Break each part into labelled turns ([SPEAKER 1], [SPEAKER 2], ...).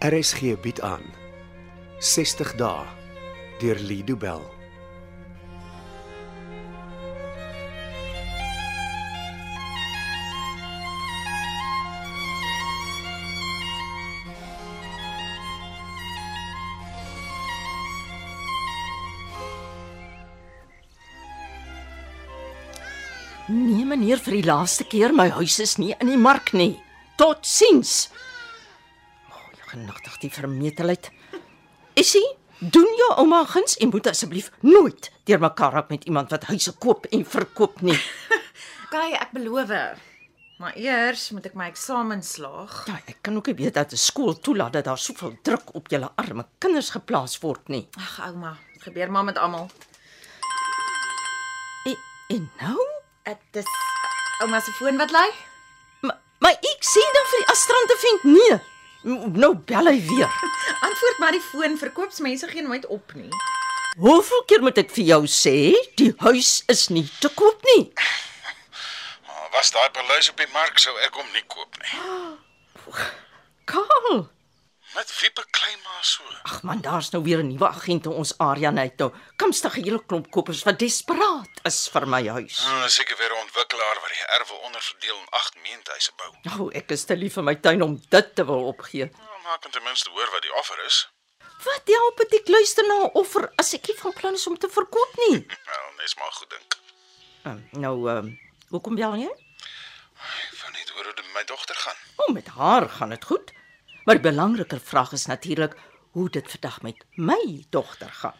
[SPEAKER 1] RSG bied aan 60 dae deur Lido Bell.
[SPEAKER 2] Nee meneer, vir die laaste keer my huis is nie in die mark nie. Totsiens. O, oh, genigtig die vermetelheid. Isie, doen jou ouma guns en moet asseblief nooit deurmekaar raak met iemand wat huise koop en verkoop nie.
[SPEAKER 3] Kai, ek beloof. Maar eers moet ek my eksamen slaag.
[SPEAKER 2] Ja, ek kan ook nie weet dat 'n skool toelaat dat daar soveel druk op julle arme kinders geplaas word nie.
[SPEAKER 3] Ag ouma, dit gebeur maar met almal.
[SPEAKER 2] En, en nou?
[SPEAKER 3] Dit is ouma se foon wat lui.
[SPEAKER 2] Maar, maar ek sê dan vir die astrante vind nee. M- Nou bel hy weer.
[SPEAKER 3] Antwoord maar die foon, verkoopsmense gee nooit op nie.
[SPEAKER 2] Hoeveel keer moet ek vir jou sê die huis is nie te koop nie?
[SPEAKER 4] Maar was daai perluis op die mark sou ek hom nie koop nie.
[SPEAKER 2] Karl.
[SPEAKER 4] Met wie beklei maar so?
[SPEAKER 2] Ag man, daar's nou weer 'n nuwe agent in ons area net nou. Komstige hele klomp kopers wat desperaat is vir my huis.
[SPEAKER 4] Nou, is seker weer 'n ontwikkelaar wat die erwe onderverdeel in 8 meentuise bou.
[SPEAKER 2] Nou, ek is te lief vir my tuin om dit te wil opgee.
[SPEAKER 4] Nou, maar ek kan ten minste hoor wat die offer is.
[SPEAKER 2] Wat help dit ek luister na 'n offer as ek nie van plan is om te verkoop nie?
[SPEAKER 4] Wel, nes maar Nou, goed dink.
[SPEAKER 2] Um, nou, ehm, um, hoekom bel jy?
[SPEAKER 4] Ek wil net hoor hoe dit met my dogter gaan.
[SPEAKER 2] O, met haar gaan dit goed. Maar die belangriker vraag is natuurlik hoe dit vandag met my dogter gaan.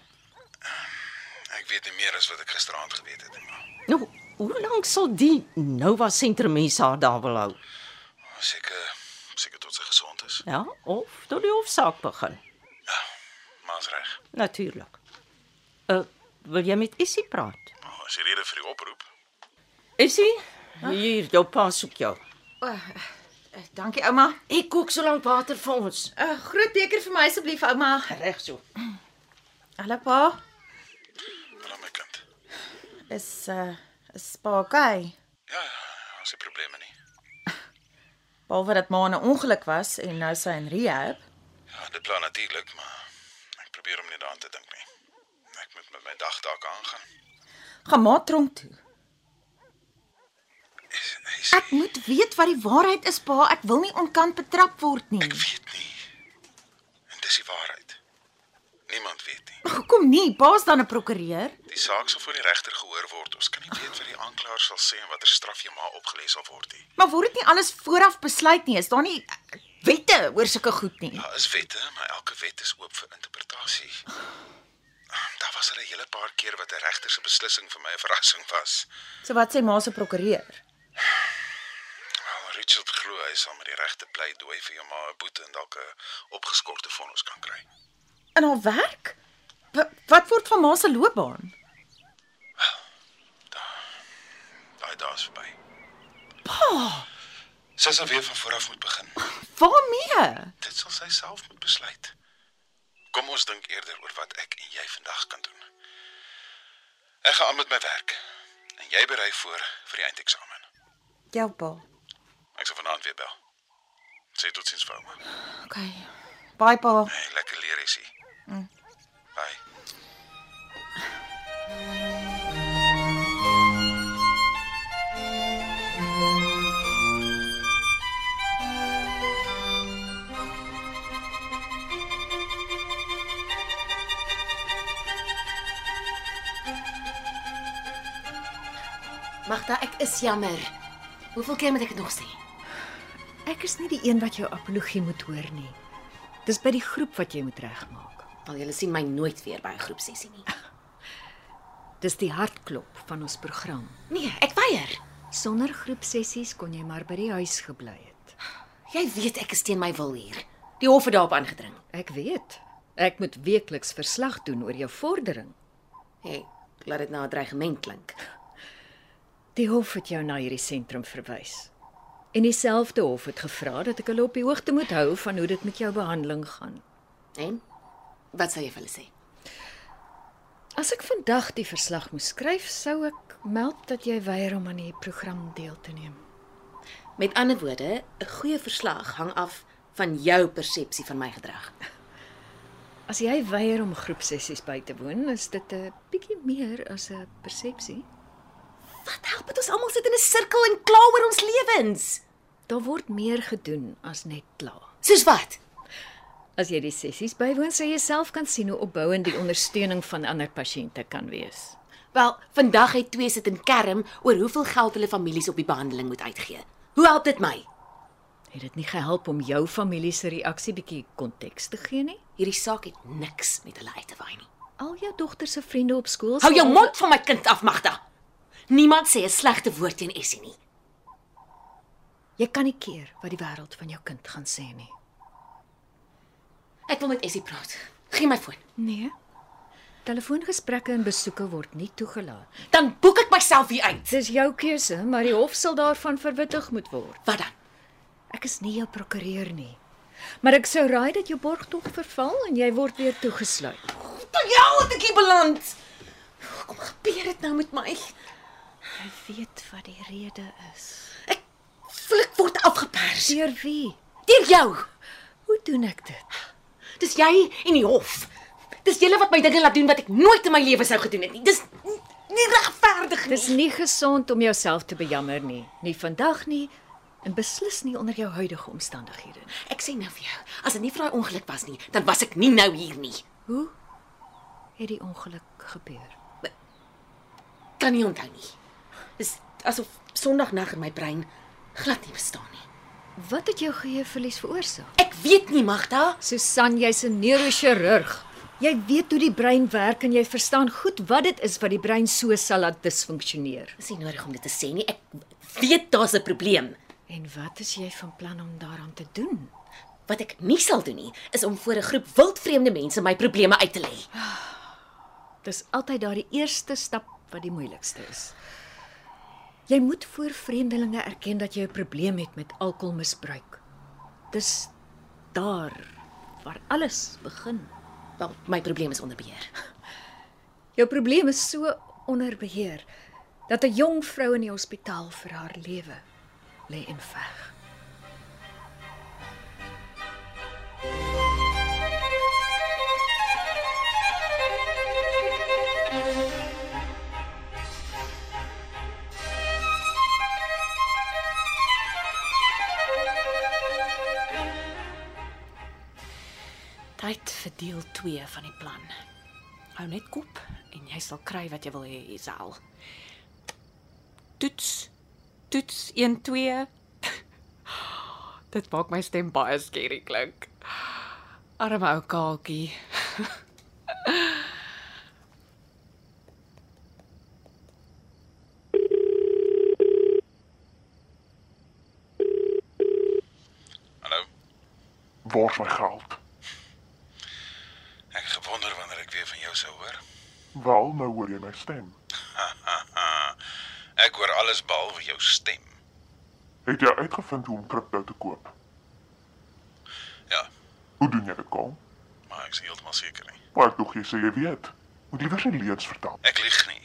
[SPEAKER 4] Ek weet nie meer as wat ek gisteraand geweet het nie, maar
[SPEAKER 2] Nou, hoe lank sal die Nova sentrum mense haar daar wil hou?
[SPEAKER 4] seker seker tot sy gesond is.
[SPEAKER 2] Ja, of tot die hofsaak begin.
[SPEAKER 4] Maar's reg.
[SPEAKER 2] Natuurlik. Uh, wil jy met Essie praat?
[SPEAKER 4] Nou, as die rede vir die oproep.
[SPEAKER 2] Essie, hier, jou pa soek jou.
[SPEAKER 3] O, oh, dankie ouma.
[SPEAKER 2] Ek kook so lank water vir ons.
[SPEAKER 3] 'n uh, Groot beker vir my asseblief ouma.
[SPEAKER 2] Reg so.
[SPEAKER 3] Hallo pa.
[SPEAKER 4] Hallo my kind.
[SPEAKER 3] Is uh is pa okay?
[SPEAKER 4] Ja, ja, ons het probleme nie.
[SPEAKER 3] Behalwe dat ma in 'n ongeluk was en nou sy in rehab.
[SPEAKER 4] Ja, dit plan natuurlik, maar ek probeer om nie daaraan te dink nie. Ek moet met my dagtaak aangaan.
[SPEAKER 3] Gaan ma tronk toe.
[SPEAKER 4] Is, is,
[SPEAKER 3] Ek moet weet wat die waarheid is pa. Ek wil nie onkant betrap word nie.
[SPEAKER 4] ek weet nie. En dis die waarheid. Niemand weet nie.
[SPEAKER 3] Hoekom nie? Pa's dan 'n prokureur.
[SPEAKER 4] Die saak sal voor die regter gehoor word. Ons kan nie weet wat die aanklaer sal sê en watter straf jou ma opgelê sal word nie.
[SPEAKER 3] Maar word dit nie alles vooraf besluit nie? Is daar nie eh, wette oor sulke goed nie?
[SPEAKER 4] Daar is wette, maar elke wet is oop vir interpretasie. Daar was al 'n hele paar keer wat 'n regter se beslissing vir my 'n verrassing was.
[SPEAKER 3] So wat sê ma se prokureur?
[SPEAKER 4] Wel, Richard glo hy sal met die regte pleidooi vir jou ma 'n boete en dalk 'n opgeskorte vonnis kan kry.
[SPEAKER 3] In haar werk? Wa- Wat word van ma se loopbaan?
[SPEAKER 4] Daai dae is verby. Pa! Sy sal weer van voor af moet begin.
[SPEAKER 3] Waarmee?
[SPEAKER 4] Dit sal sy self moet besluit. Kom ons dink eerder oor wat ek en jy vandag kan doen. Ek gaan aan met my werk en jy berei voor vir die eindeksamen.
[SPEAKER 3] Jou pa.
[SPEAKER 4] Ek sal vanaand weer bel. Sê totsiens vir ouma.
[SPEAKER 3] Okay. Bye pa.
[SPEAKER 4] Hey, lekker leer is hy. Mm. Bye.
[SPEAKER 5] Magda, ek is jammer. Hoeveel keer moet ek dit nog sê?
[SPEAKER 6] Ek is nie die een wat jou apologie moet hoor nie. Dis by die groep wat jy moet regmaak.
[SPEAKER 5] Al julle sien my nooit weer by 'n groepsessie nie.
[SPEAKER 6] Dis die hartklop van ons program.
[SPEAKER 5] Nee, ek weier.
[SPEAKER 6] Sonder groepsessies kon jy maar by die huis gebly het.
[SPEAKER 5] Jy weet ek is teen my wil hier. Die hof het daarop aangedring.
[SPEAKER 6] Ek weet. Ek moet weekliks verslag doen oor jou vordering.
[SPEAKER 5] Hey, laat dit na 'n dreigement klink.
[SPEAKER 6] Die hof het jou na hierdie sentrum verwys. En dieselfde hof het gevra dat ek hulle op die hoogte moet hou van hoe dit met jou behandeling gaan.
[SPEAKER 5] En wat sal jy vir hulle sê?
[SPEAKER 6] As ek vandag die verslag moes skryf, sou ek meld dat jy weier om aan die program deel te neem.
[SPEAKER 5] Met ander woorde, 'n goeie verslag hang af van jou persepsie van my gedrag.
[SPEAKER 6] As jy weier om groepsessies by te woon, is dit 'n bietjie meer as 'n persepsie.
[SPEAKER 5] Wat help dit ons almal sit in 'n sirkel en kla oor ons lewens?
[SPEAKER 6] Daar word meer gedoen as net kla.
[SPEAKER 5] Soos wat?
[SPEAKER 6] As jy die sessies bywoon, sal jy self kan sien hoe opbouend die ondersteuning van ander pasiënte kan wees.
[SPEAKER 5] Wel, vandag het twee sit in kerm oor hoeveel geld hulle families op die behandeling moet uitgee. Hoe help dit my?
[SPEAKER 6] Het dit nie gehelp om jou familie se reaksie bietjie konteks te gee nie?
[SPEAKER 5] Hierdie saak het niks met hulle uit te waai nie.
[SPEAKER 6] Al jou dogter se vriende op skool
[SPEAKER 5] Hou jou
[SPEAKER 6] sal-
[SPEAKER 5] mond van my kind af, Magda. Niemand sê 'n slegte woord teen Essie nie.
[SPEAKER 6] Jy kan nie keer wat die wêreld van jou kind gaan sê nie.
[SPEAKER 5] Ek wil met Essie praat. Gee my foon.
[SPEAKER 6] Nee. Telefoongesprekke en besoeke word nie toegelaat.
[SPEAKER 5] Dan boek ek myself hier uit.
[SPEAKER 6] Dis jou keuse, maar die hof sal daarvan verwittig moet word.
[SPEAKER 5] Wat dan?
[SPEAKER 6] Ek is nie jou prokureur nie. Maar ek sou raai dat jou borgtog verval en jy word weer toegesluit.
[SPEAKER 5] Tot jou het ek hier beland. Kom gebeur dit nou met my?
[SPEAKER 6] Jy weet wat die rede is.
[SPEAKER 5] Flik word afgepers
[SPEAKER 6] Deur wie?
[SPEAKER 5] deur jou.
[SPEAKER 6] Hoe doen ek dit?
[SPEAKER 5] Dis jy en die hof. Dis julle wat my dinge laat doen wat ek nooit in my lewe sou gedoen het nie. Dis n- nie regverdig nie.
[SPEAKER 6] Dis nie gesond om jouself te bejammer nie. Nie vandag nie en beslis nie onder jou huidige omstandighede nie.
[SPEAKER 5] Ek sê nou vir jou, as dit nie vir daai ongeluk was nie, dan was ek nie nou hier nie.
[SPEAKER 6] Hoe het die ongeluk gebeur?
[SPEAKER 5] Kan nie onthou nie. Dis asof Sondagnag in my brein glad nie bestaan nie.
[SPEAKER 6] Wat het jou geheueverlies veroorsaak?
[SPEAKER 5] Ek weet nie, Magda.
[SPEAKER 6] Susan, jy's 'n neurochirurg. Jy weet hoe die brein werk en jy verstaan goed wat dit is wat die brein so sal laat disfunksioneer.
[SPEAKER 5] Dis nie nodig om dit te sê nie. Ek weet daar's 'n probleem.
[SPEAKER 6] En wat is jy van plan om daaraan te doen?
[SPEAKER 5] Wat ek nie sal doen nie, is om voor 'n groep wildvreemde mense my probleme uit te lê.
[SPEAKER 6] Ah, Dis altyd daardie eerste stap wat die moeilikste is. Jy moet voor vreemdelinge erken dat jy 'n probleem het met alkoholmisbruik. Dis daar waar alles begin.
[SPEAKER 5] Wel, my probleem is onder beheer.
[SPEAKER 6] Jou probleem is so onder beheer dat 'n jong vrou in die hospitaal vir haar lewe lê en veg.
[SPEAKER 7] Tyd vir deel 2 van die plan. Hou net kop en jy sal kry wat jy wil hê, Isel. Toets. Toets 1 2. Dit maak my stem baie skerry klink. Arme ou kaakie.
[SPEAKER 4] Hallo.
[SPEAKER 8] Waar's my geld?
[SPEAKER 4] Ek gewonder wanneer ek weer van jou sou hoor.
[SPEAKER 8] Wel, nou hoor jy my stem.
[SPEAKER 4] Haha. Ek hoor alles behalwe jou stem.
[SPEAKER 8] Het jy uitgevind hoe om kripto te koop?
[SPEAKER 4] Ja,
[SPEAKER 8] Hoe doen jy dit, Kaal?
[SPEAKER 4] maar ek is nie heeltemal seker nie.
[SPEAKER 8] Maar ek dog jy sê jy weet. Moet liewer sy leuns vertel.
[SPEAKER 4] Ek lieg nie.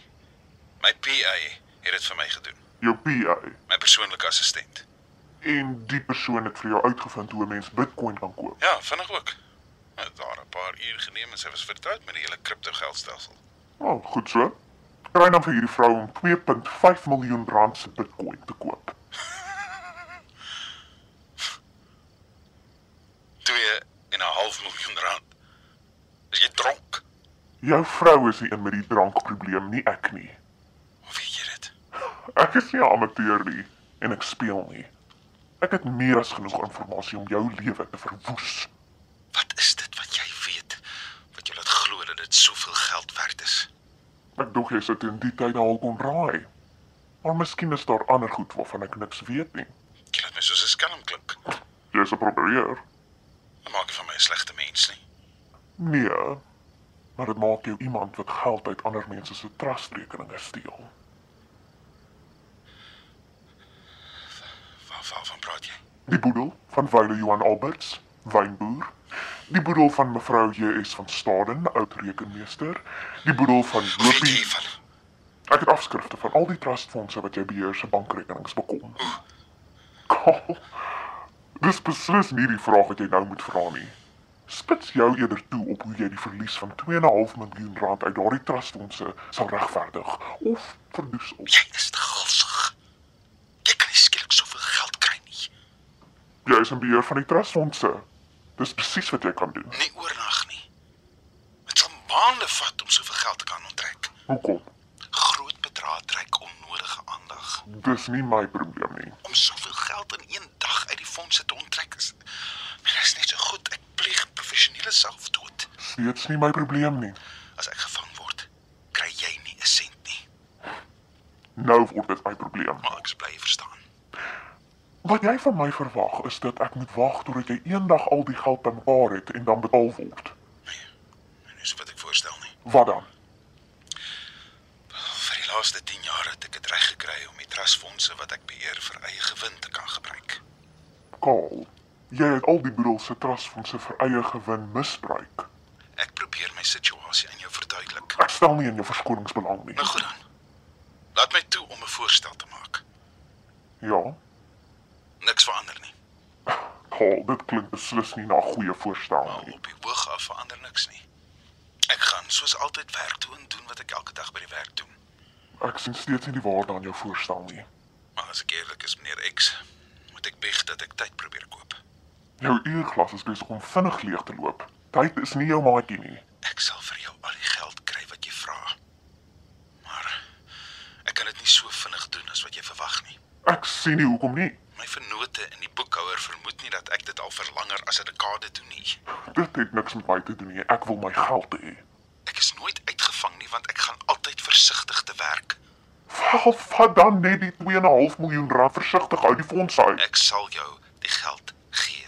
[SPEAKER 4] My PA het dit vir my gedoen.
[SPEAKER 8] Jou PA
[SPEAKER 4] My persoonlike assistent.
[SPEAKER 8] en die persoon het vir jou uitgevind hoe 'n mens Bitcoin kan koop.
[SPEAKER 4] Ja, vinnig ook. Dit het daar 'n paar uur geneem en sy was vertroud met die hele kriptogeldstelsel.
[SPEAKER 8] Wel, goed so. Kry dan vir hierdie vrou om 2.5 miljoen rand se Bitcoin te koop.
[SPEAKER 4] 2 en 'n half miljoen rand. Is jy dronk?
[SPEAKER 8] Jou vrou is die een met die drankprobleem, nie ek nie.
[SPEAKER 4] Hoe weet jy dit?
[SPEAKER 8] Ek is nie 'n amateur nie en ek speel nie. Ek het meer as genoeg inligting om jou lewe te verwoes.
[SPEAKER 4] Wat is dit wat jy weet wat jou laat glo dat dit soveel geld werd is?
[SPEAKER 8] Ek dog jy sou teen die tyd al kon raai. Maar miskien is daar ander goed waarvan ek niks weet nie.
[SPEAKER 4] Jy laat my soos 'n skelm klink.
[SPEAKER 8] Jy's 'n prokureur?
[SPEAKER 4] Dit maak nie van my 'n slegte mens nie.
[SPEAKER 8] Nee. Maar dit maak jou iemand wat geld uit ander mense se trustrekeninge steel.
[SPEAKER 4] Waar waarvan praat jy?
[SPEAKER 8] Die boedel van Wile Johan Alberts, wynboer. Die boedel van mevrou JS van Staden, oud rekenmeester. Die boedel van
[SPEAKER 4] Hoe weet
[SPEAKER 8] Lopie.
[SPEAKER 4] jy van?
[SPEAKER 8] Ek het afskrifte van al die trustfondse wat jy beheer se bankrekenings bekom. Kaal. Dis beslis nie die vraag wat jy nou moet vra nie. Spits jou eerder toe op hoe jy die verlies van 2.5 miljoen rand uit daardie trustfondse sal regverdig of verdoesel.
[SPEAKER 4] Jy is te gulsig. Jy kan nie skielik soveel geld kry nie.
[SPEAKER 8] Jy is in beheer van die trustfondse. Dis presies wat jy kan doen.
[SPEAKER 4] Nie oornag nie. Dit sal maande vat om soveel geld te kan onttrek.
[SPEAKER 8] Hoekom?
[SPEAKER 4] Groot bedrae trek onnodige aandag.
[SPEAKER 8] Dis nie my probleem nie.
[SPEAKER 4] Om soveel geld in een dag uit die fondse te onttrek is dit is net so goed ek pleeg professionele selfdood.
[SPEAKER 8] Steeds nie my probleem nie.
[SPEAKER 4] As ek gevang word, kry jy nie 'n sent nie.
[SPEAKER 8] Nou word dit my probleem.
[SPEAKER 4] Maar ek bly verstaan.
[SPEAKER 8] Wat jy van my verwag is dat ek moet wag totdat jy eendag al die geld bymekaar het en dan betaal word.
[SPEAKER 4] En dis wat ek voorstel nie.
[SPEAKER 8] Wat dan?
[SPEAKER 4] Vir die laaste 10 jaar het ek dit reg gekry om die trustfondse wat ek beheer vir eie gewin te kan gebruik.
[SPEAKER 8] Kaal. Jy het al die boedel se trustfondse vir eie gewin misbruik.
[SPEAKER 4] Ek probeer my situasie aan jou verduidelik.
[SPEAKER 8] Ek stel nie in jou verskonings belang nie.
[SPEAKER 4] Nou goed dan. Laat my toe om 'n voorstel te maak.
[SPEAKER 8] Ja.
[SPEAKER 4] Niks verander nie.
[SPEAKER 8] Kaal, dit klink beslis nie na 'n goeie voorstel
[SPEAKER 4] Maar
[SPEAKER 8] nie.
[SPEAKER 4] op die hoog af verander niks nie. Ek gaan soos altyd werk toe en doen wat ek elke dag by die werk doen.
[SPEAKER 8] Ek sien steeds nie die waarde aan jou voorstel nie.
[SPEAKER 4] Maar as ek eerlik is, meneer X, moet ek bieg dat ek tyd probeer koop.
[SPEAKER 8] Jou uurglas is besig om vinnig leeg te loop. Tyd is nie jou maatjie nie.
[SPEAKER 4] Ek sal vir jou al die geld kry wat jy vra. Maar ek kan dit nie so vinnig doen as wat jy verwag nie.
[SPEAKER 8] Ek sien nie hoekom nie.
[SPEAKER 4] My vennote in die boekhouer vermoed nie dat ek dit al vir langer as 'n dekade doen nie.
[SPEAKER 8] Dit het niks met my te doen nie. Ek wil my geld hê.
[SPEAKER 4] Ek is nooit uitgevang nie want ek gaan altyd versigtig te werk.
[SPEAKER 8] Wel, vat dan net die 2.5 miljoen rand versigtig uit die fonds uit.
[SPEAKER 4] Ek sal jou die geld gee.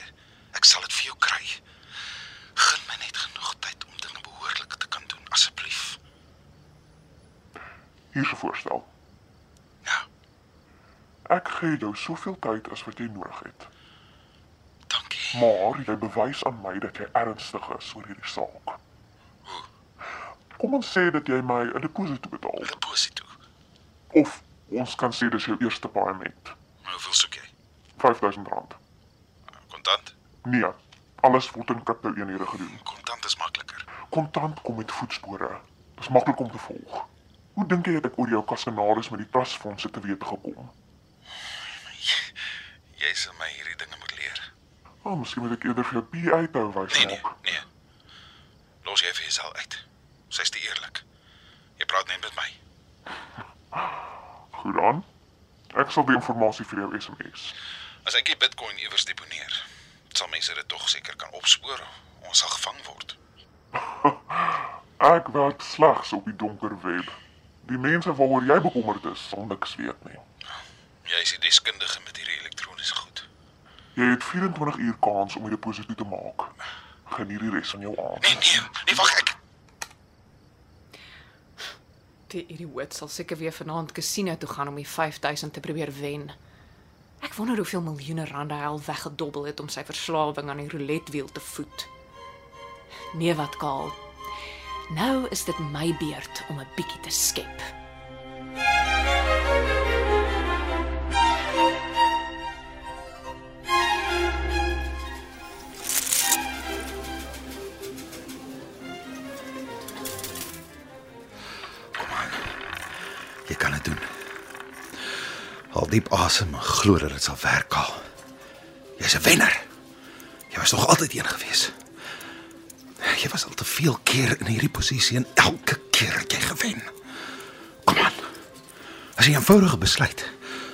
[SPEAKER 4] Ek sal dit vir jou kry. Gun my net genoeg tyd om dinge behoorlik te kan doen asseblief.
[SPEAKER 8] Hier is 'n voorstel.
[SPEAKER 4] Ja,
[SPEAKER 8] Ek gee jou soveel tyd as wat jy nodig het.
[SPEAKER 4] dankie.
[SPEAKER 8] Maar jy bewys aan my dat jy ernstig is oor hierdie saak. Kom ons sê dat jy my 'n deposito betaal
[SPEAKER 4] Deposito.
[SPEAKER 8] of ons kan sê dis jou eerste paaiement.
[SPEAKER 4] Maar Nou, hoeveel soek jy?
[SPEAKER 8] R5000. rand.
[SPEAKER 4] Kontant?
[SPEAKER 8] Nee, alles word in kripto eenhede gedoen.
[SPEAKER 4] Kontant is makliker.
[SPEAKER 8] Kontant kom met voetspore. Dis maklik om te volg. Hoe dink jy het ek oor jou kassenaris met die trustfondse te weet gekom?
[SPEAKER 4] Jy sal my hierdie dinge moet leer.
[SPEAKER 8] Ah, oh, miskien moet ek eerder vir jou PA toe wys
[SPEAKER 4] Nee, nee,
[SPEAKER 8] maak.
[SPEAKER 4] nee. Los jy vir jouself uit. Sy's te eerlik. Jy praat net met my.
[SPEAKER 8] Goed dan. Ek sal die inligting vir jou SMS.
[SPEAKER 4] As ek die Bitcoin iewers deponeer, sal mense dit tog seker kan opspoor. Ons sal gevang word.
[SPEAKER 8] Ek werk slegs op die donker web. Die mense waaroor jy bekommerd is, sal niks weet nie.
[SPEAKER 4] Jy is die deskundige met hierdie elektroniese goed.
[SPEAKER 8] Jy het 24 uur kans om die deposito te maak. Geniet die res van jou aand.
[SPEAKER 4] Nee, nee, nee wag ek.
[SPEAKER 7] Die idioot sal seker weer vanaand casino toe gaan om die 5000 te probeer wen. Ek wonder hoeveel miljoene rande hy al weggedobbel het om sy verslawing aan die roulette wiel te voed. Nee wat kaal. Nou is dit my beurt om 'n bietjie te skep.
[SPEAKER 9] Jy kan dit doen. Haal diep asem en glo dat dit sal werk al. Jy's 'n wenner. Jy was nog altyd een gewees. Jy was al te veel keer in hierdie posisie en elke keer het jy gewen. Kom aan. As jy 'n eenvoudige besluit,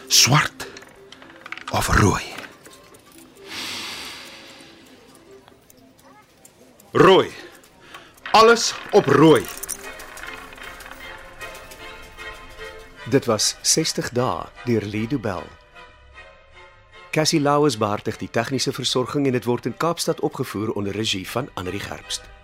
[SPEAKER 9] swart of rooi. Rooi. Alles op rooi.
[SPEAKER 1] Dit was 60 dae deur Lido Bell. Cassie Lauers beheer die tegniese versorging en dit word in Kaapstad opgevoer onder regie van Anri Gerbst.